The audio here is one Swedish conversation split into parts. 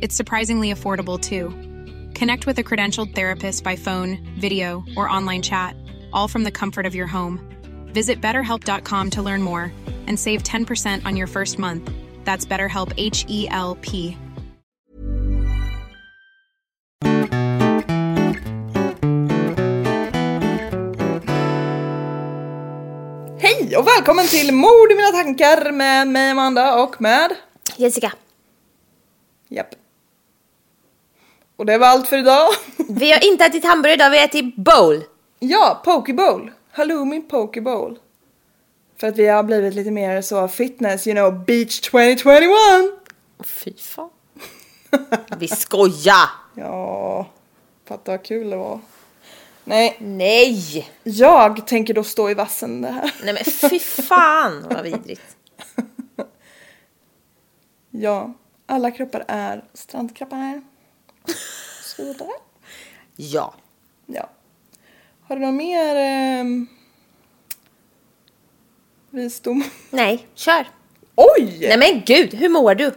It's surprisingly affordable too. Connect with a credentialed therapist by phone, video, or online chat, all from the comfort of your home. Visit betterhelp.com to learn more and save 10% on your first month. That's BetterHelp H E L P. Hej och välkommen till Mord i mina tankar med mig Amanda och med... Jessica, Japp. Och det var allt för idag. vi har inte ätit hamburgare idag, vi har ätit bowl. ja, pokeball. Halloumi pokeball. För att vi har blivit lite mer så fitness, you know, beach 2021. Fy fan. Vi skojar! Ja, fatta vad kul det var. Nej, Nej! jag tänker då stå i vassen det här. Nej men fy fan vad vidrigt. Ja, alla kroppar är strandkroppar. Och Så vidare. Ja. Ja. Har du någon mer ehm, visdom? Nej, kör. Oj! Nej men gud, hur mår du?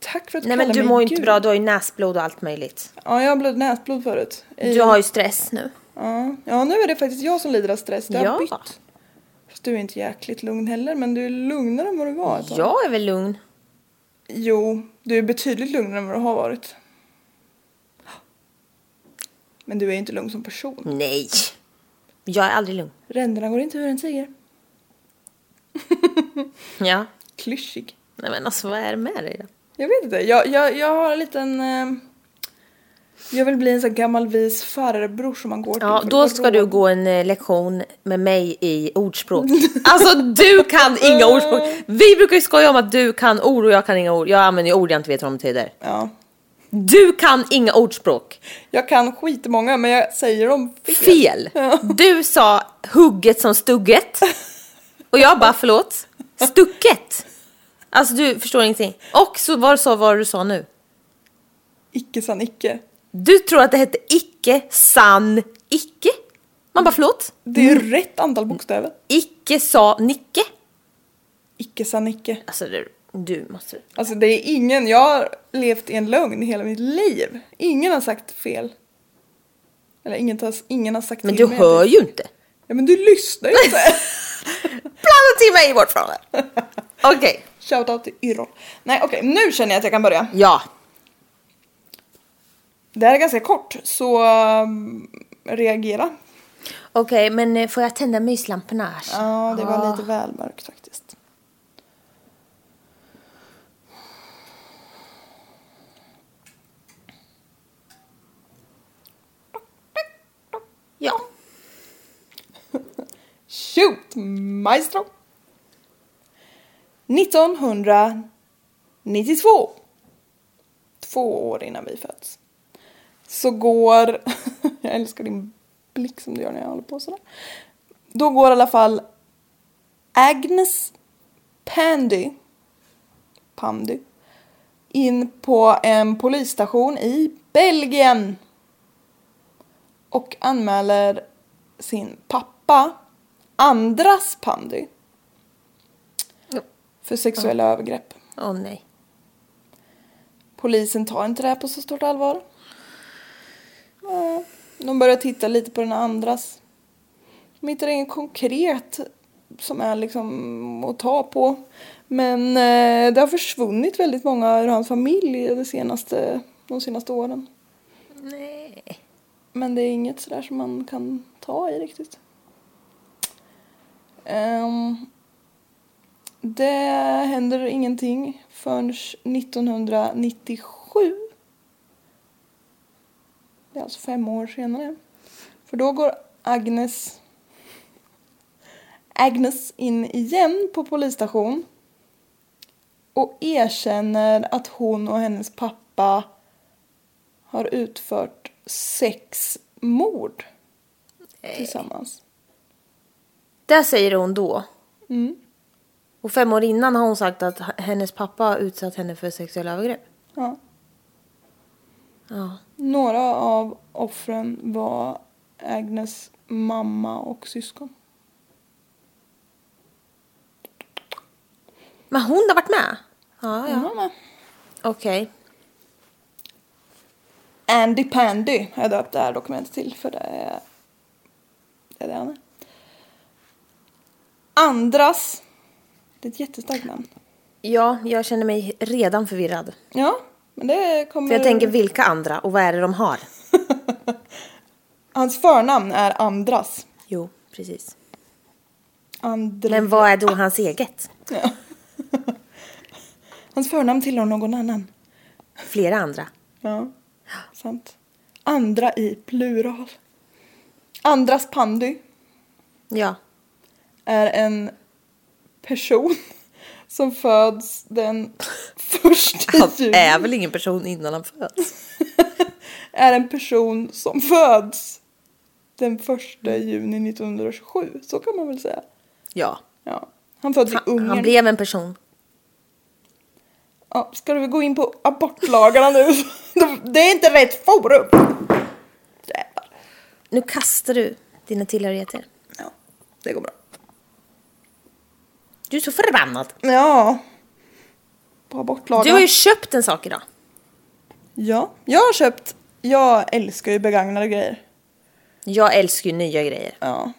Tack för att du Nej men kallar du mig mår ju inte gud. bra, du har ju näsblod och allt möjligt. Mm. Ja, jag har blivit näsblod förut. I- Du har ju stress nu. ja. ja, nu är det faktiskt jag som lider av stress. Det har Ja. bytt. Fast du är inte jäkligt lugn heller, men du är lugnare än vad du var ett tag. Jag är väl lugn. Jo, du är betydligt lugnare än vad du har varit. Men du är inte lugn som person. Nej. Jag är aldrig lugn. Ränderna går inte ur en tiger. Ja. Klyschig. Nej men alltså vad är det med dig då? Jag vet inte. Jag, jag, jag har en liten... Eh, jag vill bli en sån gammal vis farbror som man går till. Ja, för att då få ska råd. du gå en eh, lektion med mig i ordspråk. Alltså du kan inga ordspråk. Vi brukar ju skoja om att du kan ord och jag kan inga ord. Jag använder ju ord jag inte vet vad de betyder. Ja. Du kan inga ordspråk. Jag kan skitmånga, men jag säger dem fel. Fel. Ja. Du sa hugget som stugget. Och jag bara förlåt. Stucket. Alltså du förstår ingenting. Och så var så vad du sa nu. Icke san icke. Du tror att det hette icke, sann, icke. Man bara förlåt. Det är ju Mm. rätt antal bokstäver. Icke sa Nicke. Icke san icke. Alltså du, du måste... Alltså det är ingen, jag har levt i en lögn i hela mitt liv. Ingen har sagt fel. Eller ingen, har- ingen har sagt Men till du mig. hör ju inte. Ja men du lyssnar ju inte. Blanda till mig bort från det. Okej. Shoutout till Yrrol. Nej okej, nu känner jag att jag kan börja. Ja. Det här är ganska kort, så um, reagera. Okej, men eh, får jag tända myslamporna? här? Ja, det var lite väl mörkt faktiskt. Ja. Shoot, maestro! 1992. Två år innan vi föds. Så går... jag älskar din blick som du gör när jag håller på sådär. Då går i alla fall Agnes Pandy, Pandy in på en polisstation i Belgien och anmäler sin pappa, andras Pandy, för sexuella övergrepp. Åh nej. Polisen tar inte det här på så stort allvar. Nej. De börjar titta lite på den andras. De hittar inget konkret som är liksom att ta på. Men eh, det har försvunnit väldigt många ur hans familj de senaste, de senaste åren. Nej. Men det är inget sådär som man kan ta i riktigt. Ehm, det händer ingenting förrän 1997. Det är alltså fem år senare. För då går Agnes Agnes in igen på polisstation och erkänner att hon och hennes pappa har utfört sex mord tillsammans. Det säger hon då. Mm. Och fem år innan har hon sagt att h- hennes pappa har utsatt henne för sexuella övergrepp. Ja. Ja. Några av offren var Agnes mamma och syskon. Men hon har varit med? Ja, ja. Hon var med. Okej. Andy Pandy har jag döpt det här dokumentet till för det är det, är det han är. Andras. Det är ett jättestarkt namn. Ja, jag känner mig redan förvirrad. Ja, men det kommer... För jag tänker vilka andra och vad är det de har? Hans förnamn är Andras. Jo, precis. Andr... Men vad är då hans eget? Ja. Hans förnamn tillhör någon annan. Flera andra. Ja, sant. Andra i plural. Andras Pandy Ja. är en person som föds den första Han juli. är väl ingen person innan han föds? är en person som föds den första juni 1927. Så kan man väl säga. Ja. Ja. Han föds i Han, Ungern. han blev en person. Ja, ska du gå in på abortlagarna nu? De- Det är inte rätt forum. Jävlar. Nu kastar du dina tillhörigheter. Ja, det går bra. Du är så förbannad. Ja. På Du abortlagarna. har ju köpt en sak idag. Ja, jag har köpt. Jag älskar ju begagnade grejer. Jag älskar ju nya grejer. Ja.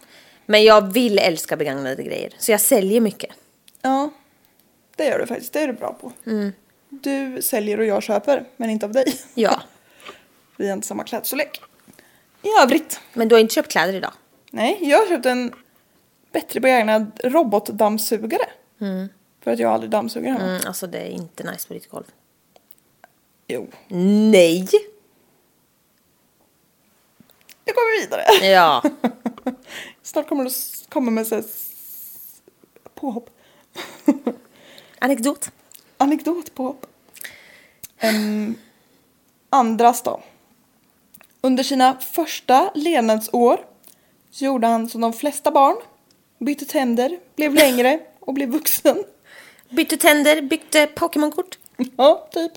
Men jag vill älska begagnade grejer. Så jag säljer mycket. Ja. Det gör du faktiskt. Det är du bra på. Du säljer och jag köper, men inte av dig. Mm. Ja. Vi har inte samma klädstorlek. I övrigt. Men du har inte köpt kläder idag. Nej, jag har köpt en bättre begagnad robotdammsugare. För att jag aldrig dammsuger hemma. Mm, alltså det är inte nice på ditt golv. Jo. Nej! Nu går vi vidare. Ja. Snart kommer du s- komma med så här s- påhopp. Anekdot. Anekdotpåhopp. Um, andras då. Under sina första levnadsår gjorde han som de flesta barn. Bytte tänder, blev längre och blev vuxen. Bytte tänder, bytte Pokémonkort. Ja, typ.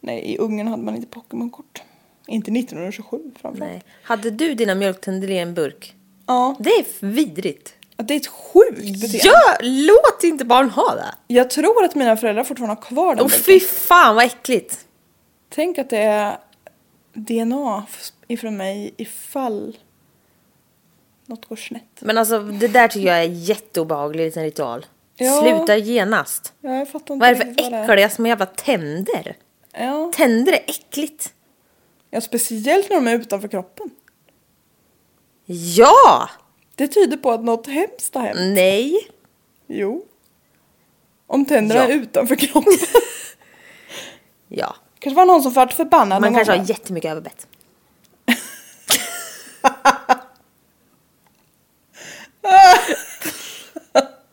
Nej, i Ungern hade man inte Pokémon-kort. Inte 1927 framförallt. Nej. Hade du dina mjölktänder i en burk? Ja, Det är vidrigt. det är ett sjukt beteende. Ja, låt inte barn ha det. Jag tror att mina föräldrar fortfarande har kvar den. Åh bilden. fy fan vad äckligt. Tänk att det är DNA f- ifrån mig ifall något går snett. Men alltså det där tycker jag är jätteobehaglig liten ritual. Ja. Sluta genast. Ja, jag fattar inte Vad är det riktigt för är. äckliga små jävla tänder? Ja. Tänder är äckligt. ja, speciellt när de är utanför kroppen. Ja! Det tyder på att något hemskt har Mm. hänt. Nej. Jo. Om tänderna Ja. är utanför kroppen. Ja. kanske var någon som vart förbannad. Man någon kanske gång. har jättemycket överbett.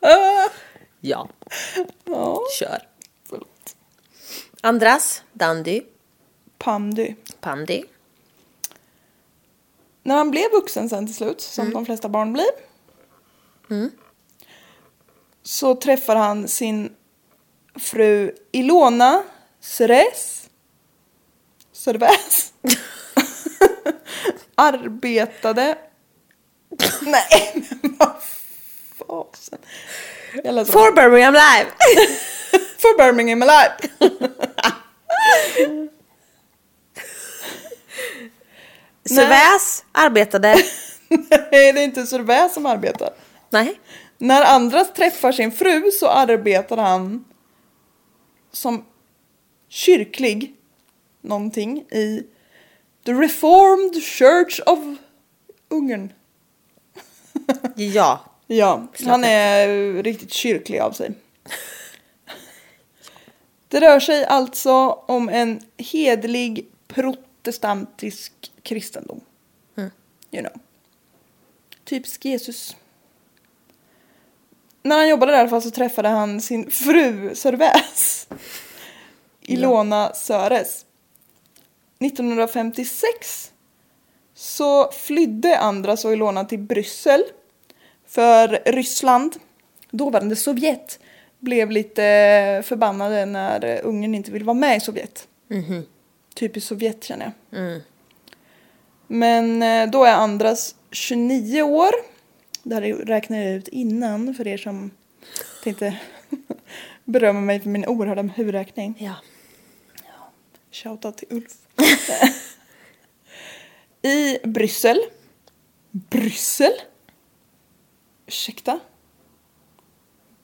ja, Ja, kör. förlåt. Andras, Dandy, Pandy. Pandy. När han blev vuxen sen till slut, som de flesta barn blir. Så träffar han sin fru Ilona Seres. Serväs. Arbetade. Nej, men vad fasen. Jag läser om- For Birmingham Live! For Birmingham Alive. Svärds arbetade. Nej, det är inte Servais som arbetar. Nej. När Andras träffar sin fru så arbetar han som kyrklig någonting i The Reformed Church of Ungern. Ja. Ja, han är riktigt kyrklig av sig. Det rör sig alltså om en hedlig protestantisk kristendom. You know. Typisk Jesus. När han jobbade där i alla fall så träffade han sin fru Sörväs. Ilona Söres. 1956 så flydde Andras och Ilona till Bryssel. För Ryssland, dåvarande Sovjet, blev lite förbannade när Ungern inte ville vara med i Sovjet. Typiskt Sovjet känner jag. Men eh, då är Andras 29 år. Det här räknar jag ut innan för er som tänkte berömma mig för min oerhörda huvudräkning. Ja. Shoutout till Ulf. I Bryssel. Bryssel? Ursäkta?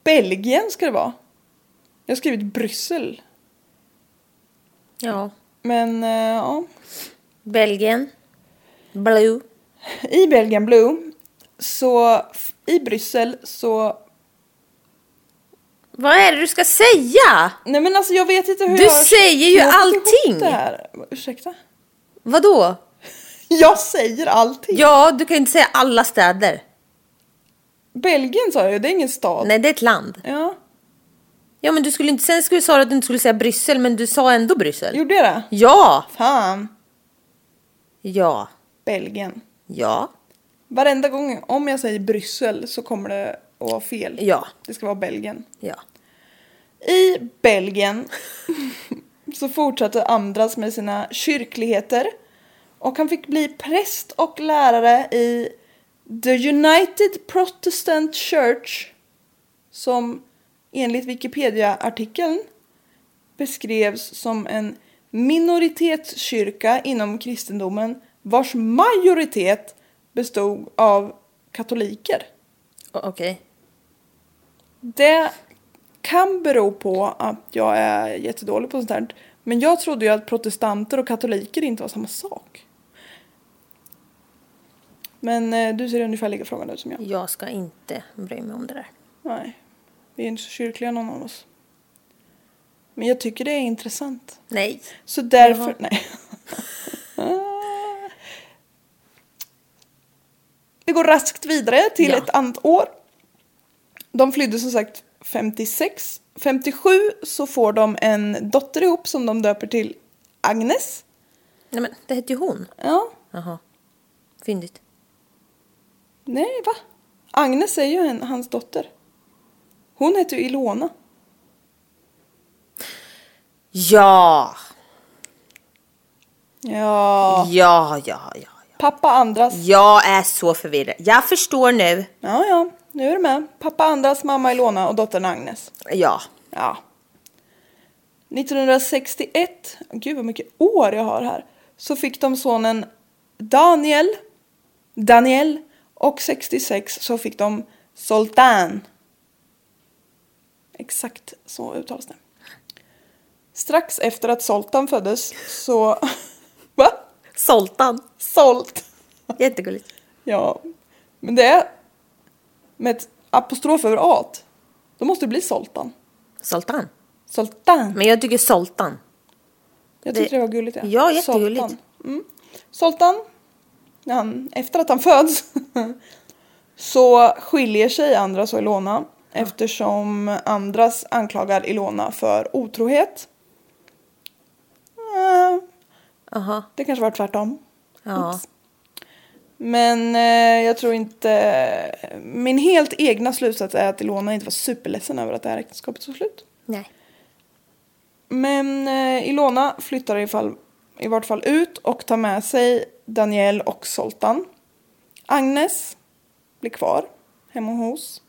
Belgien ska det vara. Jag har skrivit Bryssel. Ja. Men eh, ja. Belgien. Blue. I Belgian Blue så f- i Bryssel så Vad är det du ska säga? Nej men alltså jag vet inte hur Du jag säger ju jag har fått ihop allting. Det här. Ursäkta? Vadå? Jag säger allting. Ja, du kan ju inte säga alla städer. Belgien sa jag ju, det är ingen stad. Nej, det är ett land. Ja, Ja, men du skulle inte... Sen skulle du säga att du inte skulle säga Bryssel, men du sa ändå Bryssel. gjorde jag det? Ja! Fan. Ja. Belgien. Ja. Varenda gång om jag säger Bryssel så kommer det att vara fel. Ja. Det ska vara Belgien. Ja. I Belgien så fortsatte Andras med sina kyrkligheter och han fick bli präst och lärare i The United Protestant Church som enligt Wikipedia-artikeln beskrevs som en minoritetskyrka inom kristendomen vars majoritet bestod av katoliker. O- Okej. Det kan bero på att jag är jättedålig på sånt här. Men jag trodde ju att protestanter och katoliker inte var samma sak. Men eh, du ser ungefär lika frågan ut som jag. Jag ska inte bry mig om det där. Nej, vi är inte så kyrkliga någon av oss. Men jag tycker det är intressant. Nej. Så därför, nej. Vi går raskt vidare till Ja. ett annat år. De flydde som sagt 56. 57 så får de en dotter ihop som de döper till Agnes. Nej, men det hette ju hon. Ja, Jaha. Fyndigt. nej va? Agnes är ju en, hans dotter. Hon heter ju Ilona. Ja! Ja. Ja, ja, ja. Pappa Andras. Jag är så förvirrad. Jag förstår nu. Ja, ja, nu är du med. Pappa Andras, mamma Ilona och dottern Agnes. Ja. Ja. 1961, gud vad mycket år jag har här, så fick de sonen Daniel, Daniel och 66 så fick de Soltan. Exakt så uttalas det. Strax efter att Soltan föddes så... Va? Soltan. Solt. Jättegulligt. Ja, men det är med ett apostrof över A. Då måste det bli Soltan. Soltan. Soltan. Men jag tycker Soltan. Jag tyckte det, Det- var gulligt. Ja, Ja, jättegulligt. Soltan. Mm. Soltan, när han, efter att han föds, så skiljer sig Andras och Ilona eftersom Andras anklagar Ilona för otrohet. Eh, Jaha. Det kanske var tvärtom. Ja. Oops. Men eh, jag tror inte... Min helt egna slutsats är att Ilona inte var superledsen över att det här äktenskapet tog slut. Nej. Men eh, Ilona flyttar i, fall, i vart fall ut och tar med sig Daniel och Soltan. Agnes blir kvar hemma hos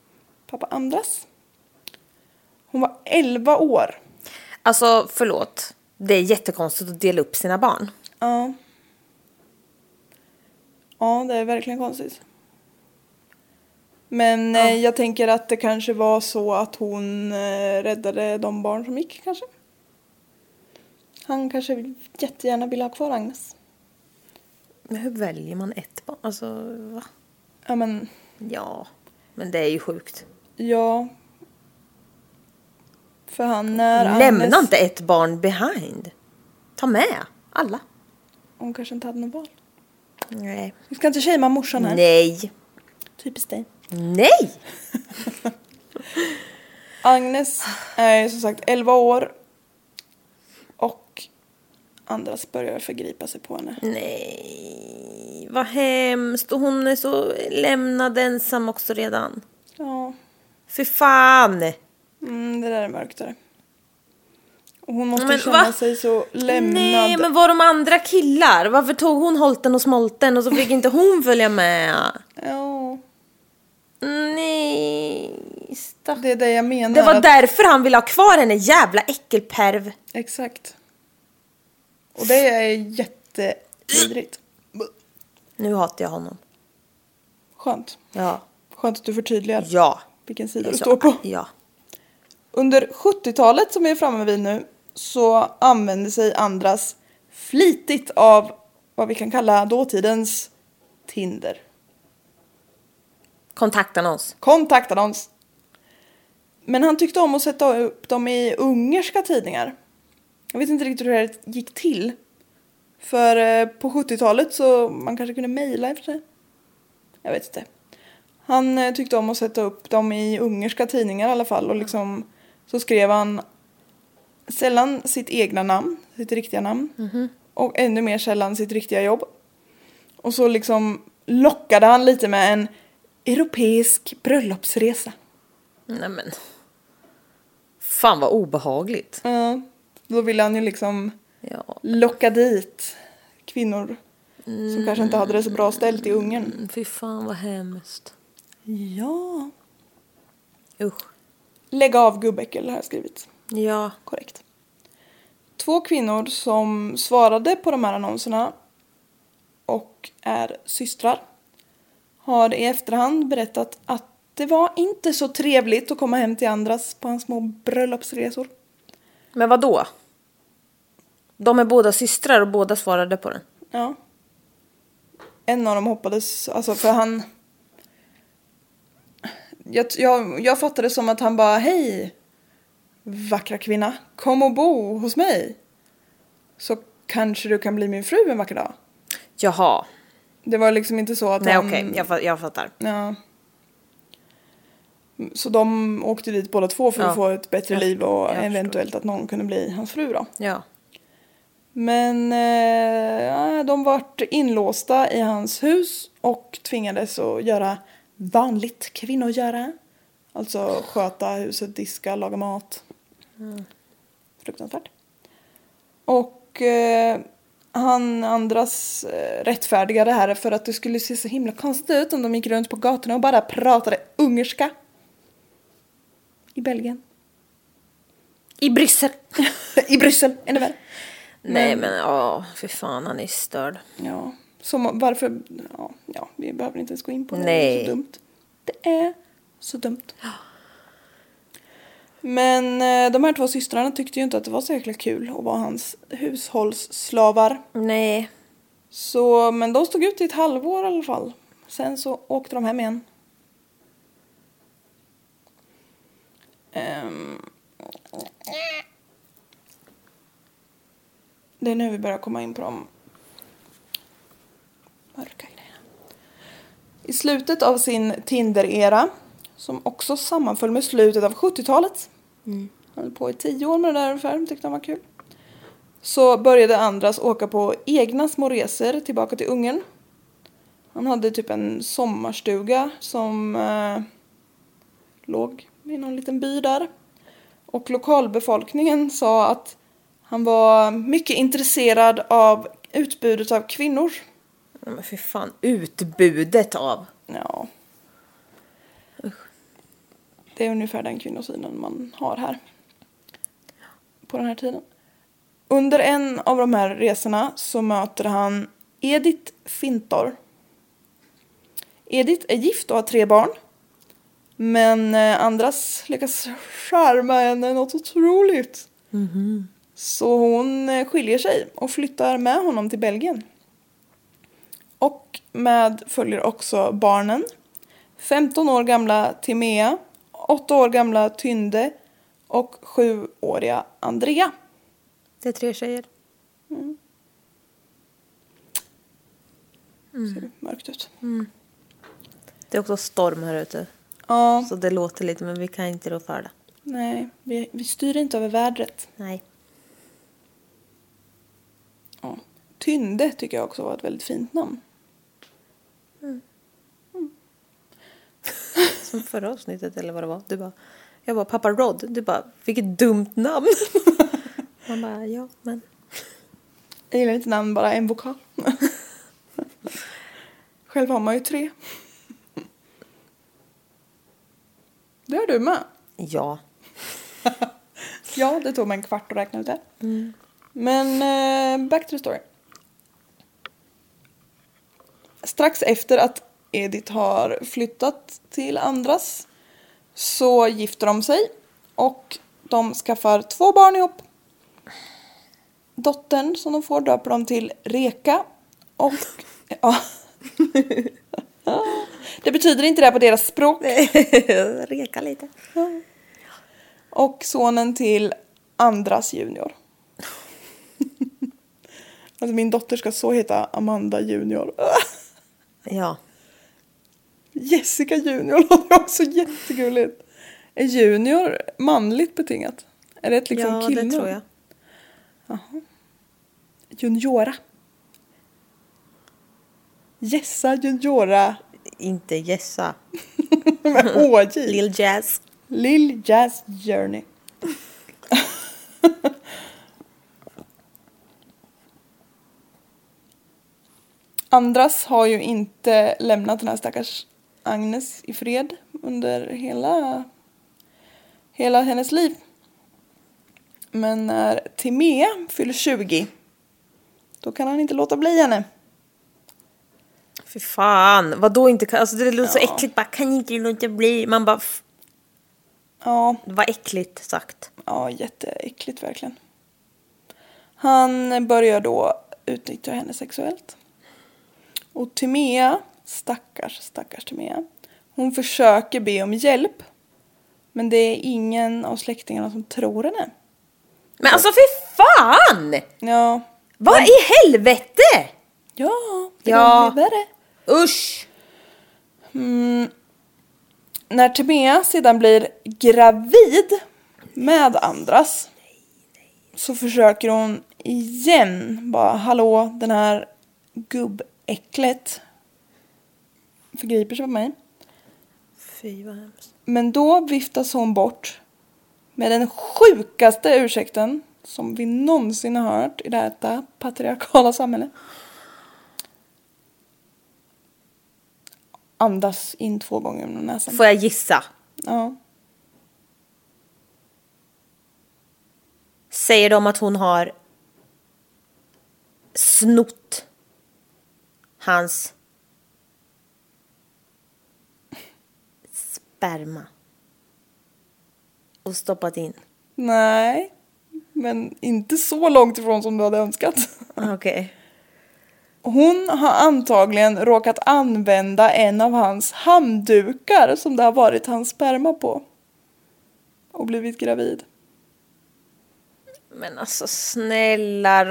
pappa Andras. Hon var 11 år. Alltså, förlåt. Det är jättekonstigt att dela upp sina barn. Ja. Ja, det är verkligen konstigt. Men eh, jag tänker att det kanske var så att hon eh, räddade de barn som gick kanske. Han kanske jättegärna ville ha kvar Agnes. Men hur väljer man ett barn? Alltså, va? Ja, men Ja, men det är ju sjukt. ja. För han när Lämna Agnes... inte ett barn behind. Ta med alla. Hon kanske inte hade något val. Nej. Vi ska inte shamea morsan här. Nej. Typiskt dig. Nej! Agnes är som sagt 11 år. Och Andras börjar förgripa sig på henne. Nej. Vad hemskt. Och hon är så lämnad ensam också redan. Ja, Fy fan! mm, det där är mörkt. där. Och hon måste Men känna va? sig så lämnad. Nej, men var de andra killar? Varför tog hon holten och smolten och så fick inte hon följa med? Ja, Nej, stack. det är det jag menar. Det var att- därför han ville ha kvar henne, jävla äckelperv. Exakt. Och det är jättevidrigt. Nu hatar jag honom. Skönt. Ja. Skönt att du förtydligar Ja. vilken sida Jag du är så- står på. Ja. Under 70-talet som vi är framme vid nu så använde sig Andras flitigt av vad vi kan kalla dåtidens Tinder. Kontaktannons. Kontaktannons. Men han tyckte om att sätta upp dem i ungerska tidningar. Jag vet inte riktigt hur det här gick till. För eh, på 70-talet så man kanske kunde mejla i och för sig. Jag vet inte. Han eh, tyckte om att sätta upp dem i ungerska tidningar i alla fall och liksom så skrev han sällan sitt egna namn, sitt riktiga namn och ännu mer sällan sitt riktiga jobb. Och så liksom lockade han lite med en europeisk bröllopsresa. Nej men. Fan vad obehagligt. Ja, då ville han ju liksom Ja, locka dit kvinnor som kanske inte hade det så bra ställt i Ungern. fy fan vad hemskt. Mm. Ja. Usch. Lägg av gubbäckel har jag skrivit. Ja. Korrekt. Två kvinnor som svarade på de här annonserna och är systrar har i efterhand berättat att det var inte så trevligt att komma hem till andras på hans små bröllopsresor. Men vad då? De är båda systrar och båda svarade på den. Ja. En av dem hoppades, alltså för han... Jag, jag, jag fattade det som att han bara, hej vackra kvinna, kom och bo hos mig. Så kanske du kan bli min fru en vacker dag. Jaha. Det var liksom inte så att Nej han... okej, jag, fa- jag fattar. Ja. Så de åkte dit båda två för att Ja. få ett bättre Jag- liv och jag förstår. eventuellt att någon kunde bli hans fru då. Ja. Men eh, ja, de vart inlåsta i hans hus och tvingades att göra vanligt kvinnogöra. Alltså sköta huset, diska, laga mat. Mm. Fruktansvärt. Och eh, han andras eh, rättfärdiga det här för att det skulle se så himla konstigt ut om de gick runt på gatorna och bara pratade ungerska. I Belgien. I Bryssel. I Bryssel, ännu värre. Nej men ja, fy fan han är störd. Ja, som varför... Ja, ja, vi behöver inte ens gå in på det. Det är Nej. så dumt. Det är så dumt. Men eh, de här två systrarna tyckte ju inte att det var så jäkla kul att vara hans hushållsslavar. Nej. Så, men de stod ut i ett halvår i alla fall. Sen så åkte de hem igen. Ehm. Det är nu vi börjar komma in på de mörka grejerna. I slutet av sin Tinder-era, som också sammanföll med slutet av 70-talet. Han höll på i tio år med det där ungefär, tyckte han var kul så började Andras åka på egna små resor tillbaka till Ungern. Han hade typ en sommarstuga som eh, låg i någon liten by där. Och lokalbefolkningen sa att han var mycket intresserad av utbudet av kvinnor. Nej, Men fy fan, utbudet av. Ja. Det är ungefär den kvinnosynen man har här. På den här tiden. Under en av de här resorna så möter han Edith Fintor. Edith är gift och har tre barn. Men eh, Andras lyckas charma henne något otroligt. Så hon eh, skiljer sig och flyttar med honom till Belgien. Och med följer också barnen. 15 år gamla Timea, 8 år gamla Tynde och 7-åriga Andrea. Det är tre tjejer. Ser det mörkt ut? Det är också storm här ute. Ja, Så det låter lite men vi kan inte rå för det. nej, vi, vi styr inte över vädret. Nej. Ja. Tynde tycker jag också var ett väldigt fint namn. Som förra avsnittet eller vad det var. Du bara, jag bara pappa Rod. Du bara vilket dumt namn. Man bara ja men. Jag gillar inte namn, bara en vokal. Själv har man ju tre. Det har du med. Ja. Ja, det tog mig en kvart att räkna ut det. Men eh, back to the story. Strax efter att Edith har flyttat till Andras så gifter de sig och de skaffar två barn ihop. Dottern som de får döper de till Reka och... Ja. Det betyder inte det här på deras språk. Reka lite. Och sonen till Andras junior. Alltså min dotter ska så heta Amanda junior. Ja. Jessica junior låter också jättegulligt. Är junior manligt betingat? Är det ett liksom ja killnamn? det tror jag. Juniora. Jessa juniora Inte Jessa. med HJ. Lil Jazz. Lil Jazz Journey. Andras har ju inte lämnat den här stackars Agnes i fred under hela, hela hennes liv. Men när Timea fyller 20 då kan han inte låta bli henne. Fy fan. Vadå inte kan? Alltså det låter så äckligt. Bara kan inte låta bli. Man bara "F- Ja, vad äckligt sagt. Ja, jätteäckligt verkligen. Han börjar då utnyttja henne sexuellt. Och Timea, stackars, stackars Timea, hon försöker be om hjälp. Men det är ingen av släktingarna som tror henne. Men alltså fy fan! Ja, Vad i helvete! ja, det Ja. var värre. Usch! När Timea sedan blir gravid med Andras så försöker hon igen bara hallå den här gubbäcklet förgriper sig på mig. Fy vad hemskt. Men då viftas hon bort med den sjukaste ursäkten som vi någonsin har hört i detta patriarkala samhälle. Andas in två gånger genom näsan. Får jag gissa? Ja. Säger de att hon har snott hans sperma och stoppat in? Nej, men inte så långt ifrån som du hade önskat. Okej. Hon har antagligen råkat använda en av hans handdukar som det har varit hans sperma på. Och blivit gravid. Men alltså snälla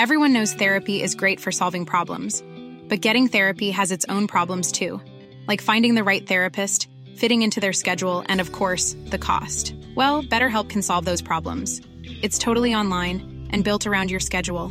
Everyone knows therapy is great for solving problems, but getting therapy has its own problems too, like finding the right therapist, fitting into their schedule, and of course, the cost. Well, BetterHelp can solve those problems. It's totally online and built around your schedule.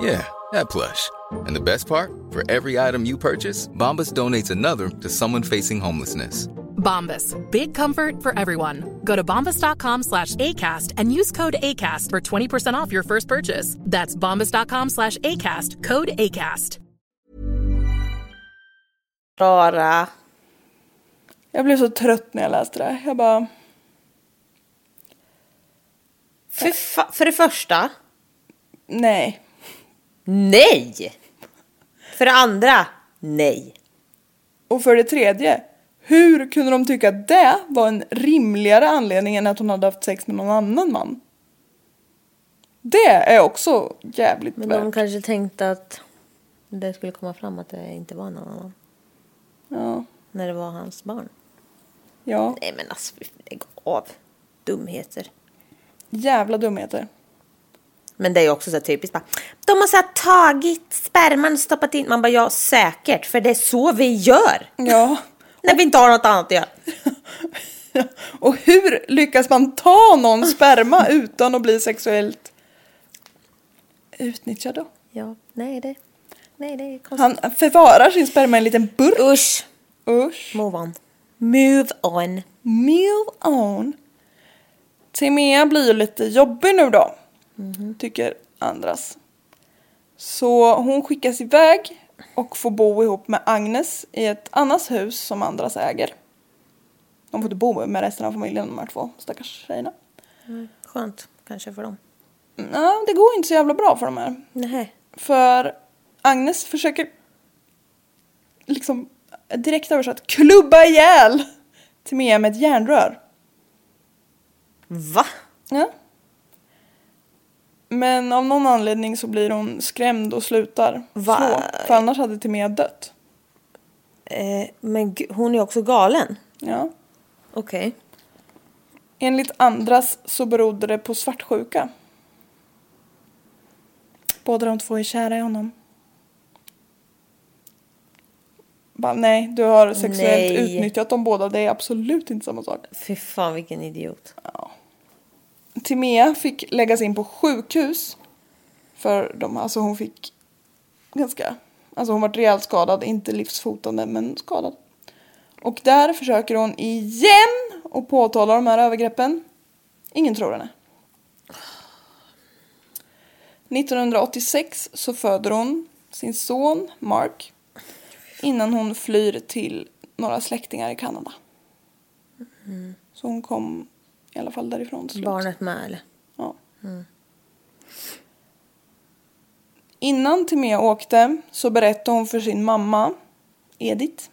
Yeah, that plush. And the best part? For every item you purchase, Bombas donates another to someone facing homelessness. Bombas. Big comfort for everyone. Go to bombas.com slash ACAST and use code ACAST for 20% off your first purchase. That's bombas.com slash ACAST. Code ACAST. Klara. Jag blev så trött när jag läste det. Jag bara, För, fa- för det första. nej. Nej! För det andra. Nej. Och för det tredje, hur kunde de tycka att det var en rimligare anledning än att hon hade haft sex med någon annan man? Det är också jävligt Men värt. de kanske tänkte att det skulle komma fram att det inte var någon annan. Ja, När det var hans barn. ja. Nej men alltså, lägg av. Dumheter. Jävla dumheter. Men det är ju också så här typiskt bara, De har så här tagit sperman och stoppat in. Man bara ja säkert för det är så vi gör. Ja. När vi inte har något annat att göra. Och hur lyckas man ta någon sperma utan att bli sexuellt utnyttjad då? Ja, nej det, nej, det är konstigt. Han förvarar sin sperma i en liten burk. Usch. Usch. Move on. Move on. Move on. Timea blir ju lite jobbig nu då. Tycker Andras. Så hon skickas iväg och får bo ihop med Agnes i ett annat hus som Andras äger. De får inte bo med resten av familjen de här två stackars tjejerna. Skönt kanske för dem. Nej, det går inte så jävla bra för de här. Nej. För Agnes försöker liksom direkt översatt klubba ihjäl Timea med ett järnrör. Va? Ja. Men av någon anledning så blir hon skrämd och slutar Va? slå. För annars hade Timea dött. Eh, men gud, hon är också galen. Ja. Okej. Enligt andras så berodde det på svartsjuka. Båda de två är kära i honom. Bara, nej, du har sexuellt Nej. utnyttjat dem båda. Det är absolut inte samma sak. Fy fan vilken idiot. Timea fick läggas in på sjukhus. För de, alltså hon fick ganska, alltså hon var rejält skadad, inte livshotande men skadad. Och där försöker hon igen och påtala de här övergreppen. Ingen tror henne. 1986 så föder hon sin son Mark innan hon flyr till några släktingar i Kanada. Så hon kom i alla fall därifrån till slut. Barnet med eller? Ja. Innan Timea åkte så berättade hon för sin mamma, Edith,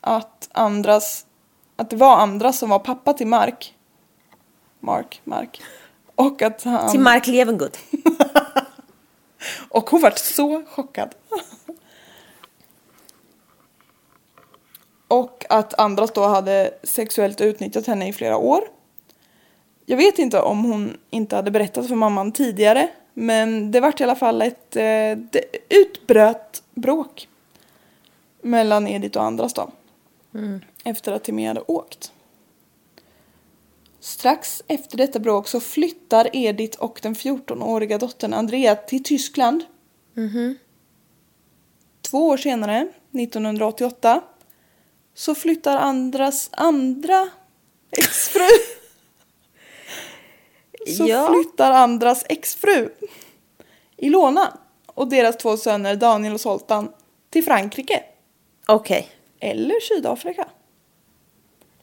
att, andras, att det var andra som var pappa till Mark. Mark, Mark. Och att han... Till Mark Levengood. Och hon vart så chockad. Och att Andras då hade sexuellt utnyttjat henne i flera år. Jag vet inte om hon inte hade berättat för mamman tidigare. Men det vart i alla fall ett eh, det utbröt bråk. Mellan Edith och Andras då. Efter att Timmy hade åkt. Strax efter detta bråk så flyttar Edith och den 14-åriga dottern Andrea till Tyskland. Två år senare, 1988, så flyttar Andras andra exfru. så Ja. flyttar Andras exfru Ilona och deras två söner Daniel och Zoltan till Frankrike Okej. eller Sydafrika.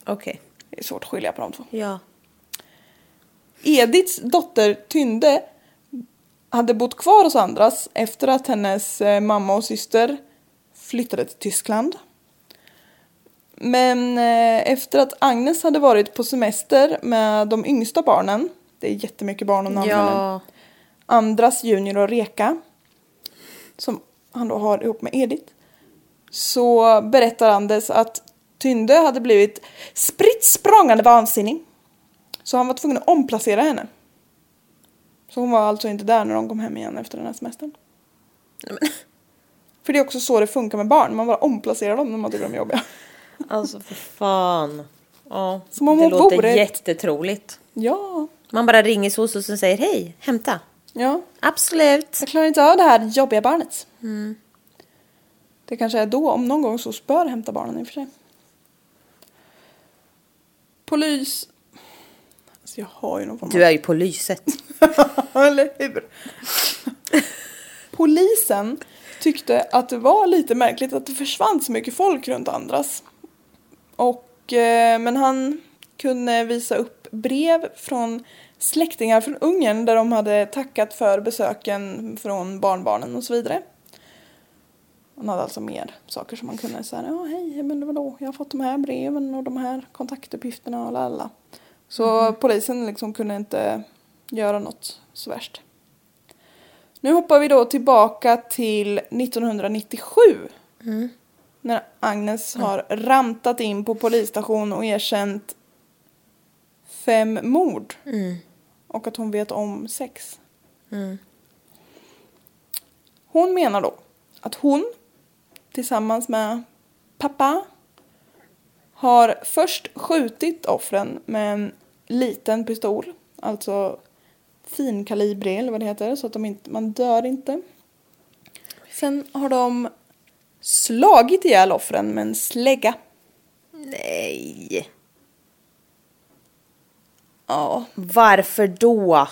Okej. Det är svårt att skilja på de två. Ja. Ediths dotter Tynde hade bott kvar hos Andras efter att hennes eh, mamma och syster flyttade till Tyskland. Men eh, efter att Agnes hade varit på semester med de yngsta barnen, det är jättemycket barn och namn, Ja. Andras Junior och Reka, som han då har ihop med Edith, så berättar Anders att Tynde hade blivit spritt språngande vansinnig. Så han var tvungen att omplacera henne. Så hon var alltså inte där när de kom hem igen efter den här semestern. För det är också så det funkar med barn, man bara omplacerar dem när man tycker de är jobbiga. Alltså för fan. Ja. Som om det hon låter vore ett- jättetroligt. Ja, Man bara ringer soc och så säger hej, hämta. Ja, Absolut. jag klarar inte av det här jobbiga barnet. Det kanske är då, om någon gång, så bör hämta barnen i och för sig. Polis. Alltså jag har ju någon form av... Du är ju på lyset. Eller hur? Polisen tyckte att det var lite märkligt att det försvann så mycket folk runt Andras. Och, eh, men han kunde visa upp brev från släktingar från Ungern där de hade tackat för besöken från barnbarnen och så vidare. Han hade alltså mer saker som man kunde säga, ja hej, men vadå, jag har fått de här breven och de här kontaktuppgifterna och lalala. Så polisen liksom kunde inte göra något så värst. Nu hoppar vi då tillbaka till 1997. När Agnes har rantat in på polisstation och erkänt fem mord. Och att hon vet om sex. Hon menar då att hon tillsammans med pappa har först skjutit offren med en liten pistol, alltså finkalibrig eller vad det heter, så att de inte, man dör inte. Sen har de slagit ihjäl offren med en slägga. Nej. Ja, Varför då?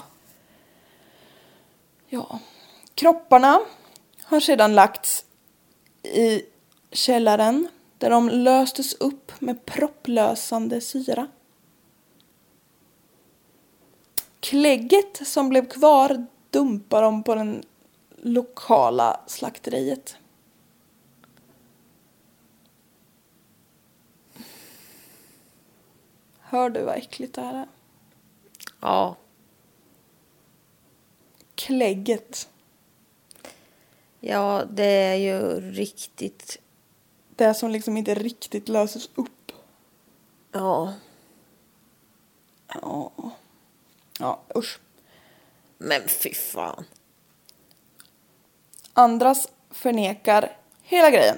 Ja. Kropparna har sedan lagts i källaren där de löstes upp med propplösande syra. Klägget som blev kvar dumpar de på den lokala slakteriet. Hör du vad äckligt det här är? Ja. Klägget. Ja, det är ju riktigt... Det som liksom inte riktigt löses upp. Ja. Ja. Ja, usch. Men fy fan. Andras förnekar hela grejen.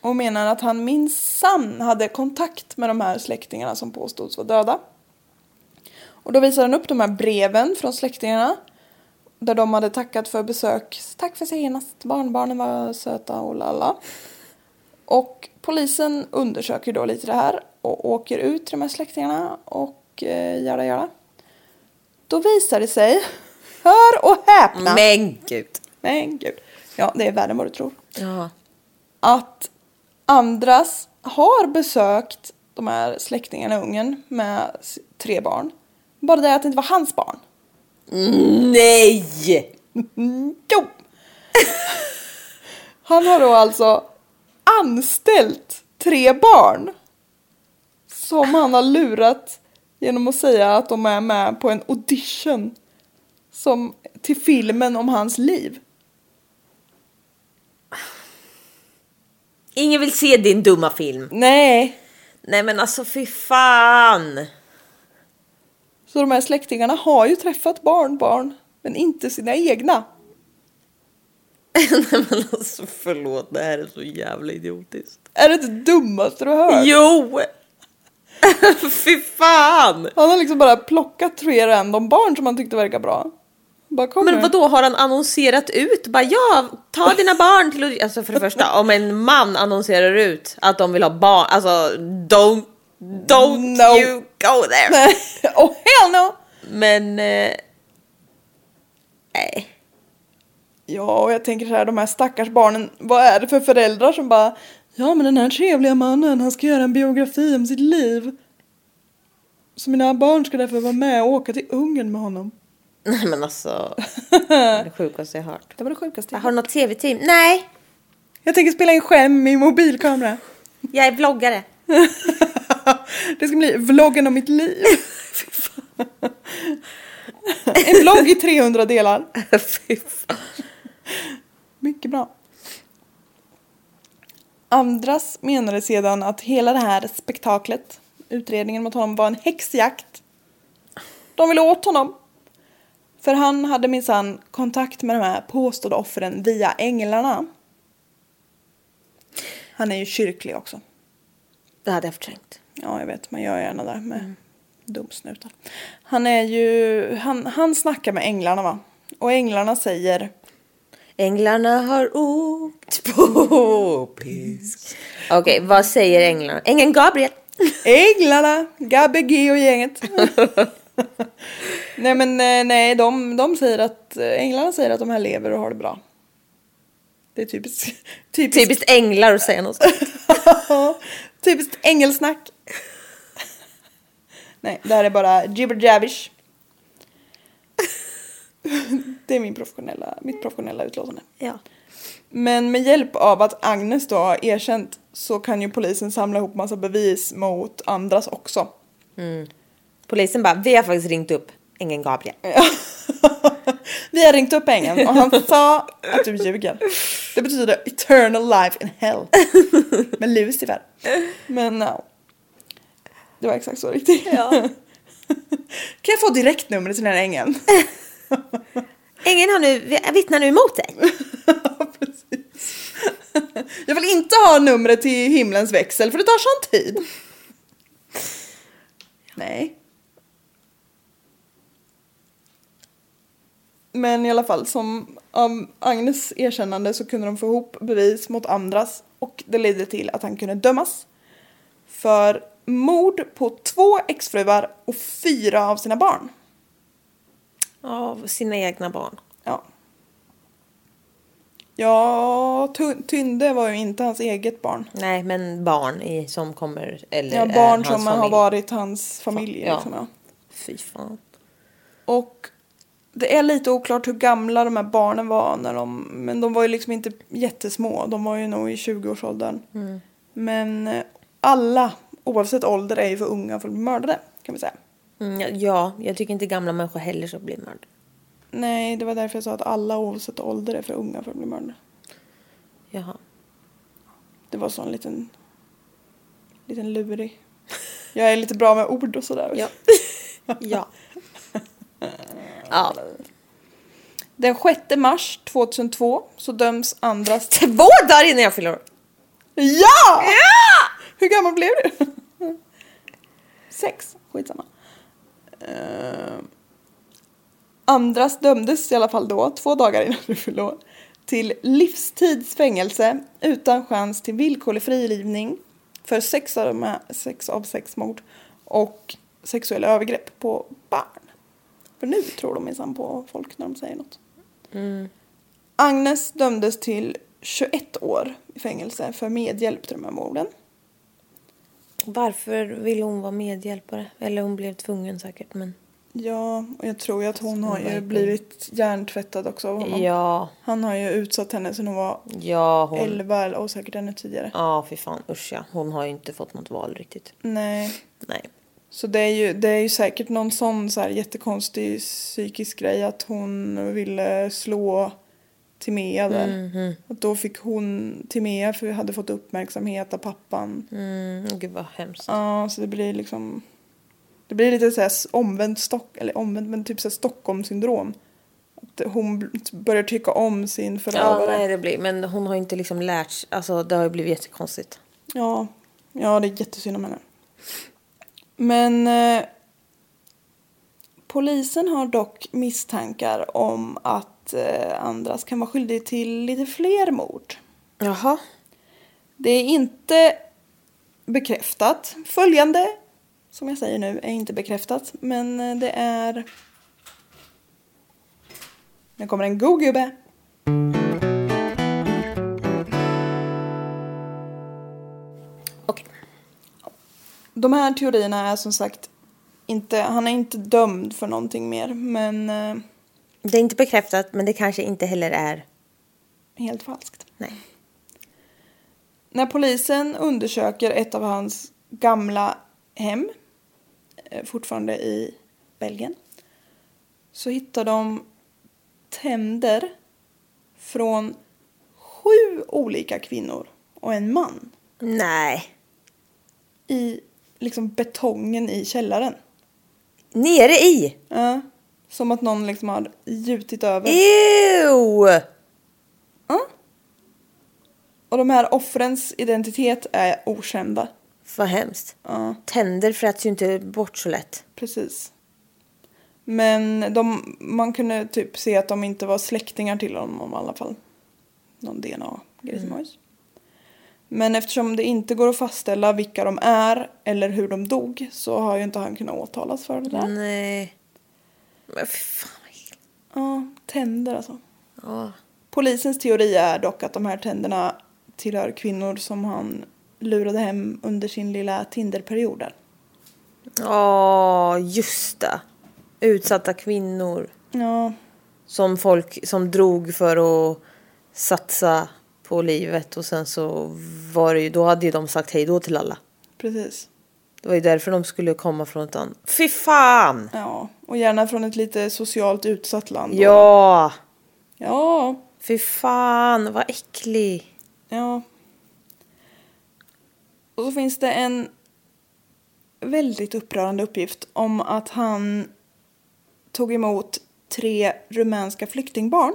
Och menar att han minsann hade kontakt med de här släktingarna som påstods vara döda. Och då visar han upp de här breven från släktingarna. Där de hade tackat för besök. Tack för senast, barnbarnen var söta och lalla. Och polisen undersöker då lite det här och åker ut till de här släktingarna och eh, jada jada. Då visar det sig, hör och häpna. Men gud. Men gud. Ja, det är värre än vad du tror. Ja. Att Andras har besökt de här släktingarna i Ungern med s- tre barn. Bara det att det inte var hans barn. Nej! Jo! Han har då alltså anställt tre barn. Som han har lurat genom att säga att de är med på en audition. Som, till filmen om hans liv. Ingen vill se din dumma film. Nej, Nej men alltså fy fan. Så de här släktingarna har ju träffat barnbarn, men inte sina egna. Nej men alltså förlåt, det här är så jävla idiotiskt. Är det inte det dummaste du har hört? Jo! fy fan! Han har liksom bara plockat tre random barn som han tyckte verkar bra. Bara kommer. Men vad då har han annonserat ut? Bara ja, ta dina barn till att-" Alltså för det första, om en man annonserar ut att de vill ha barn, alltså don't, don't No. you go there. Nej, oh hell no! Men... Eh, nej. Ja, och jag tänker så här, de här stackars barnen, vad är det för föräldrar som bara Ja, men den här trevliga mannen, han ska göra en biografi om sitt liv. Så mina barn ska därför vara med och åka till Ungern med honom. Nej men alltså, det är det sjukaste jag har hört. Det var det sjukaste. Har du något tv-team? Nej, Jag tänker spela in skäm i mobilkamera. jag är vloggare. Det ska bli vloggen om mitt liv. en vlogg i 300 delar. Fy fan. Mycket bra. Andras menade sedan att hela det här spektaklet, utredningen mot honom, var en häxjakt. De ville åt honom. För han hade minsann kontakt med de här påstådda offren via änglarna. Han är ju kyrklig också. Det hade jag förträngt. Ja, jag vet. Man gör gärna det med dumsnutar. Han är ju... Han, han snackar med änglarna, va? Och änglarna säger Änglarna har åkt på pisk. Okej, vad säger änglarna? Ängeln Gabriel. Änglarna, Gabbe G och gänget. nej men eh, nej, de, de säger att eh, änglarna säger att de här lever och har det bra. Det är typiskt. Typiskt, Typiskt änglar att säga något sånt. typiskt ängelsnack. nej, det här är bara gibber jabbish. det är min professionella, mitt professionella utlåtande. Ja. Men med hjälp av att Agnes då har erkänt så kan ju polisen samla ihop massa bevis mot andras också. Polisen bara, vi har faktiskt ringt upp ängeln Gabriel. Vi har ringt upp ängeln och han sa att du ljuger. Det betyder eternal life in hell. Med Lucifer. Men no. Det var exakt så riktigt. Kan jag få direktnumret till den här ängeln? Ängeln har nu, vittnar nu emot dig. Precis. Jag vill inte ha numret till himlens växel för det tar sån tid. Nej. Men i alla fall, som av Agnes erkännande så kunde de få ihop bevis mot andras och det ledde till att han kunde dömas för mord på två exfruar och fyra av sina barn. Av sina egna barn. Ja. Ja, Tun- Tynde var ju inte hans eget barn. Nej, men barn i, som kommer eller Ja, är barn hans som har familj. varit hans familj. Ja. Liksom, ja. Fy fan. Och det är lite oklart hur gamla de här barnen var när de, men de var ju liksom inte jättesmå. De var ju nog i 20-årsåldern. Mm. Men eh, alla, oavsett ålder, är ju för unga för att bli mördade kan vi säga. Mm, ja, ja, jag tycker inte gamla människor heller ska bli mördade. Nej, det var därför jag sa att alla oavsett ålder är för unga för att bli mördade. Jaha. Det var så en liten, liten lurig. Jag är lite bra med ord och sådär. Ja. ja. ja. Den 6 mars 2002 så döms Andras... Två dagar innan jag fyller år. Ja! Hur gammal blev du? Sex, skitsamma. Uh, Andras dömdes i alla fall då, två dagar innan du fyllde år, till livstidsfängelse utan chans till villkorlig frigivning för sex av, de här, sex av sex mord och sexuella övergrepp på barn. För nu tror de minsann på folk när de säger något. Agnes dömdes till 21 år i fängelse för medhjälp till de här morden. Varför ville hon vara medhjälpare? Eller hon blev tvungen säkert. Men... Ja, och jag tror ju att hon har ju verkligen. blivit hjärntvättad också av honom. Ja, Han har ju utsatt henne sen hon var ja hon. 11 eller och säkert ännu tidigare. Ja, fy fan usch ja. Hon har ju inte fått något val riktigt. Nej. Nej. Så det är, ju, det är ju säkert någon sån så här jättekonstig psykisk grej att hon ville slå Timea där. Mhm. Att då fick hon Timea för hade fått uppmärksamhet av pappan. Mm, gud vad hemskt. Ja, så det blir liksom... Det blir lite så här omvänt Stock... Eller omvänt, men typ så här Stockholmssyndrom. Att hon b- börjar tycka om sin Ja, förövare. nej, Ja, det blir, men hon har ju inte liksom lärt sig. Alltså, det har ju blivit jättekonstigt. ja. det är jättesynd om henne. Men... Eh, polisen har dock misstankar om att eh, Andras kan vara skyldig till lite fler mord. Jaha. Det är inte bekräftat. Följande, som jag säger nu, är inte bekräftat. Men eh, det är... Nu kommer en god gubbe. Okej. De här teorierna är som sagt inte... Han är inte dömd för någonting mer, men eh, Det är inte bekräftat, men det kanske inte heller är... helt falskt. Nej. När polisen undersöker ett av hans gamla hem, eh, fortfarande i Belgien, så hittar de tänder från sju olika kvinnor och en man Nej. i liksom betongen i källaren. Nere i! Ja, som att någon liksom har gjutit över. Eh. Ew! Ja. Och de här offrens identitet är okända. Vad hemskt. Ja. Tänder fräts ju inte bort så lätt. Precis. Men de, man kunde typ se att de inte var släktingar till honom i alla fall. Någon DNA-grej som hojs. Men eftersom det inte går att fastställa vilka de är eller hur de dog så har ju inte han kunnat åtalas för det där. Mm. Nej. Men fy fan. vad äckligt. Ja, tänder alltså. Ja. Polisens teori är dock att de här tänderna tillhör kvinnor som han lurade hem under sin lilla Tinderperiod. där. Ja, just det. Utsatta kvinnor Ja, som folk som drog för att satsa på livet och sen så var det ju, då hade ju de sagt hej då till alla. precis. Det var ju därför de skulle komma från ett annat. Fy fan! Ja, och gärna från ett lite socialt utsatt land. då. Ja! Ja, Fy fan vad äcklig. ja. Och så finns det en väldigt upprörande uppgift om att han tog emot tre rumänska flyktingbarn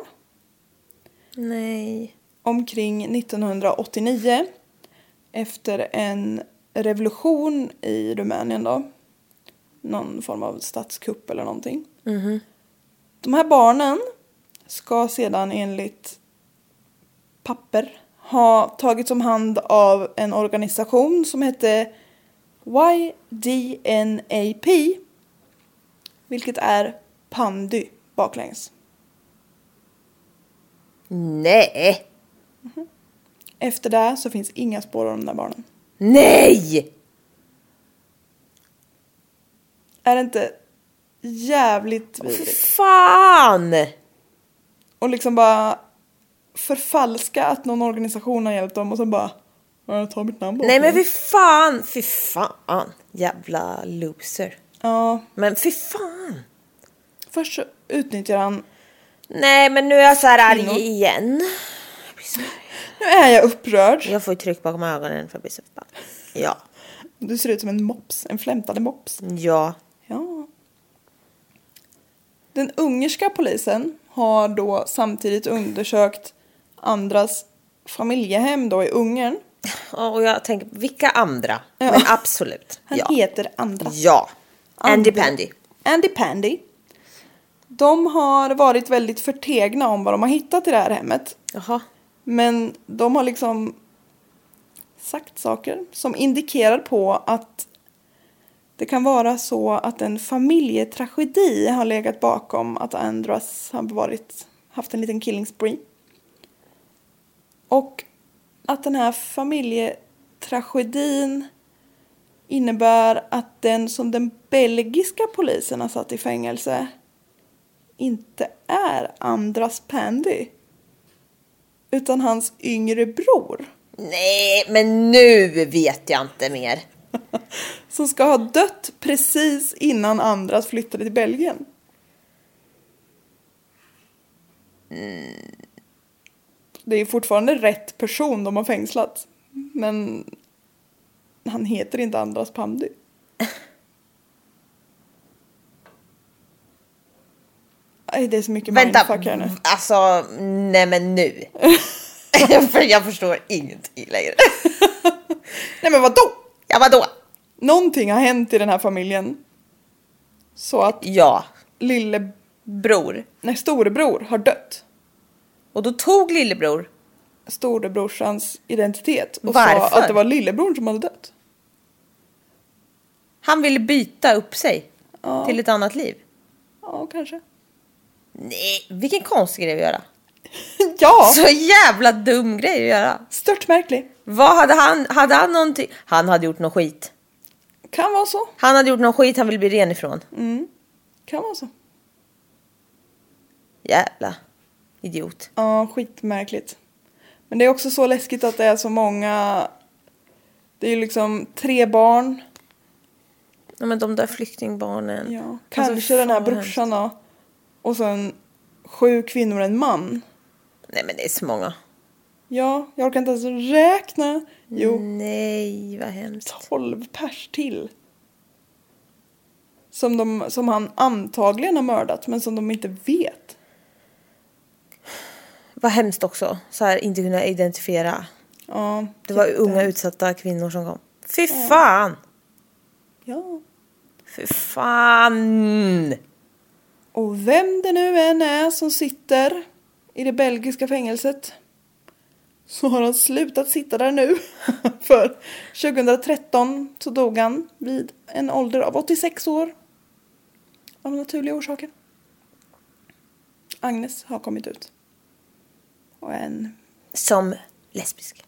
Nej. omkring 1989 efter en revolution i Rumänien då. Någon form av statskupp eller någonting. De här barnen ska sedan enligt papper ha tagits om hand av en organisation som hette YDNAP. Vilket är Pandy baklänges. Nej! Efter det så finns inga spår av de där barnen. Nej! Är det inte jävligt Fy vidrigt? fan! Och liksom bara förfalska att någon organisation har hjälpt dem och sen bara "Ja, ta mitt namn bara. Nej men fy fan! Fy fan! Jävla loser. Ja, Men fy fan! först så utnyttjar han. Nej men nu är jag så här Kvinnor. arg igen. Jag blir så arg. Nu är jag upprörd. Jag får ju tryck bakom ögonen för att bli så förbannad. Ja. Du ser ut som en mops, en flämtande mops. Ja. Ja. Den ungerska polisen har då samtidigt undersökt andras familjehem då i Ungern. Ja, Och jag tänker, vilka andra? Men absolut. Han ja. heter Andras. Ja. Andy Andra. Pandy. Andy Pandy. De har varit väldigt förtegna om vad de har hittat i det här hemmet. Jaha. Men de har liksom sagt saker som indikerar på att det kan vara så att en familjetragedi har legat bakom att Andras har varit, haft en liten killing spree. Och att den här familjetragedin innebär att den som den belgiska polisen har satt i fängelse inte är Andras Pandy utan hans yngre bror Nej men nu vet jag inte mer. som ska ha dött precis innan Andras flyttade till Belgien. Mm. Det är fortfarande rätt person de har fängslat. Men han heter inte Andras Pandy. Aj, det är så mycket Vänta, mindfuck här nu. alltså nej men nu. För jag förstår ingenting längre. Nej men vadå? Ja vadå? Någonting har hänt i den här familjen. Så att Ja, lillebror, nej storebror har dött. och då tog lillebror. storebrorsans identitet och Varför? sa att det var lillebrorn som hade dött. Han ville byta upp sig till ett annat liv. Ja, kanske. Nej, vilken konstig grej att göra. ja, Så jävla dum grej att göra. störtmärklig. Vad hade han? Hade han någonting? Han hade gjort någon skit. Kan vara så, Han hade gjort någon skit han vill bli ren ifrån. kan vara så. Jävla idiot. Ja, skitmärkligt. Men det är också så läskigt att det är så många. Det är ju liksom tre barn. Ja, men de där flyktingbarnen. Ja, Alltså, kanske fan den här vad brorsan då. Och sen sju kvinnor och en man. hemskt. Nej men det är så många. Ja, jag orkar inte ens räkna. Jo, Nej vad hemskt. tolv pers till. Som, de, som han antagligen har mördat men som de inte vet. Vad hemskt också. Så här inte kunna identifiera. Ja, Det var jättehemskt. unga utsatta kvinnor som kom. Fy fan! Ja. Fy fan! Och vem det nu än är som sitter i det belgiska fängelset så har han slutat sitta där nu. För 2013 så dog han vid en ålder av 86 år. Av naturliga orsaker. Agnes har kommit ut. Och en... Som lesbisk.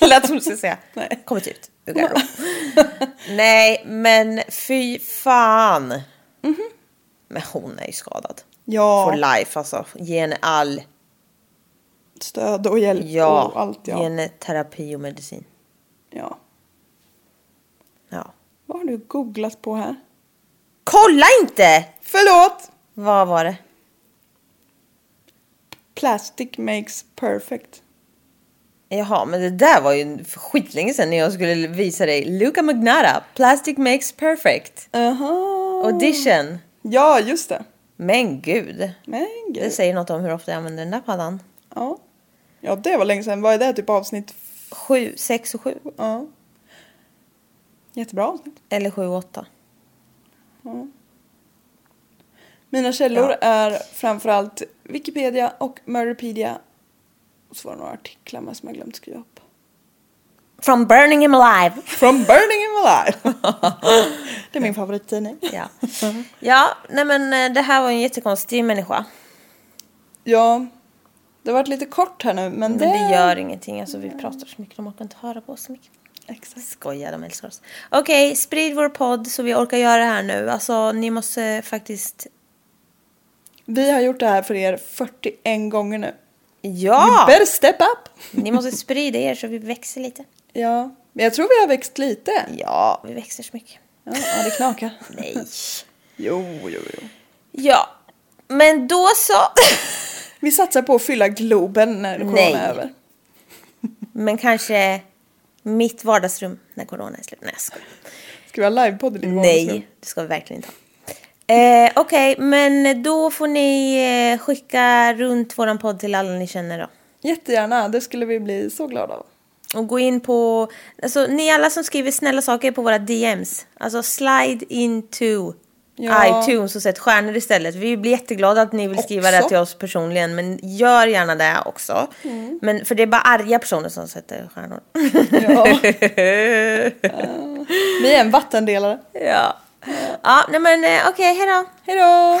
Lät som du skulle säga. Nej. Kommit ut ur garderob. Nej, men fy fan. Men hon är ju skadad. For Ja, life alltså. Ge henne all, stöd och hjälp ja, och Oh, allt ge ja. henne terapi och medicin. ja. Ja. Vad har du googlat på här? Kolla inte! Förlåt! Vad var det? Plastic makes perfect. Jaha, men det där var ju för skitlänge sedan när jag skulle visa dig Luca Magnara, Plastic Makes Perfect, Aha. Audition. Ja, just det. Men gud, Men det gud. säger något om hur ofta jag använder den där paddan. Ja. ja, det var länge sedan. Vad är det? Typ avsnitt? Sju, sex och sju. Ja. Jättebra avsnitt. Eller sju och åtta. Mina källor Ja. är framförallt Wikipedia och Murderpedia. Och så var det några artiklar med som jag glömt skriva upp. From burning him alive. From Burning Him Alive! det är min favorittidning. Ja, ja nej men eh, det här var en jättekonstig människa. Ja, det har varit lite kort här nu men det... Men Mm, det gör ingenting, alltså vi pratar så mycket, de orkar inte höra på oss så mycket. Exakt. Skoja, de älskar oss. Okej, sprid vår podd så vi orkar göra det här nu. Alltså ni måste faktiskt... Vi har gjort det här för er 41 gånger nu. You Ja! better step up! Ni måste sprida er så vi växer lite. Ja, men jag tror vi har växt lite. Ja, vi växer så mycket. Ja, ja det knakar. Nej. Jo, jo, jo. Ja, men då så. Vi satsar på att fylla Globen när corona Nej. är över. Men kanske mitt vardagsrum när corona är slut. Nej, jag skojar. Ska vi ha livepodd i ditt vardagsrum? Nej, det ska vi verkligen inte ha. Eh, Okej, men då får ni eh, skicka runt våran podd till alla ni känner då. Jättegärna, det skulle vi bli så glada av. Och gå in på, alltså ni alla som skriver snälla saker på våra DMs. Alltså slide into Ja. iTunes och sätt stjärnor istället. Vi blir jätteglada att ni vill skriva det Också. till oss personligen. Men gör gärna det också. Men, för det är bara arga personer som sätter stjärnor. Ja. vi är en vattendelare. ja. Ja, nej men eh, okej, hejdå. Hejdå!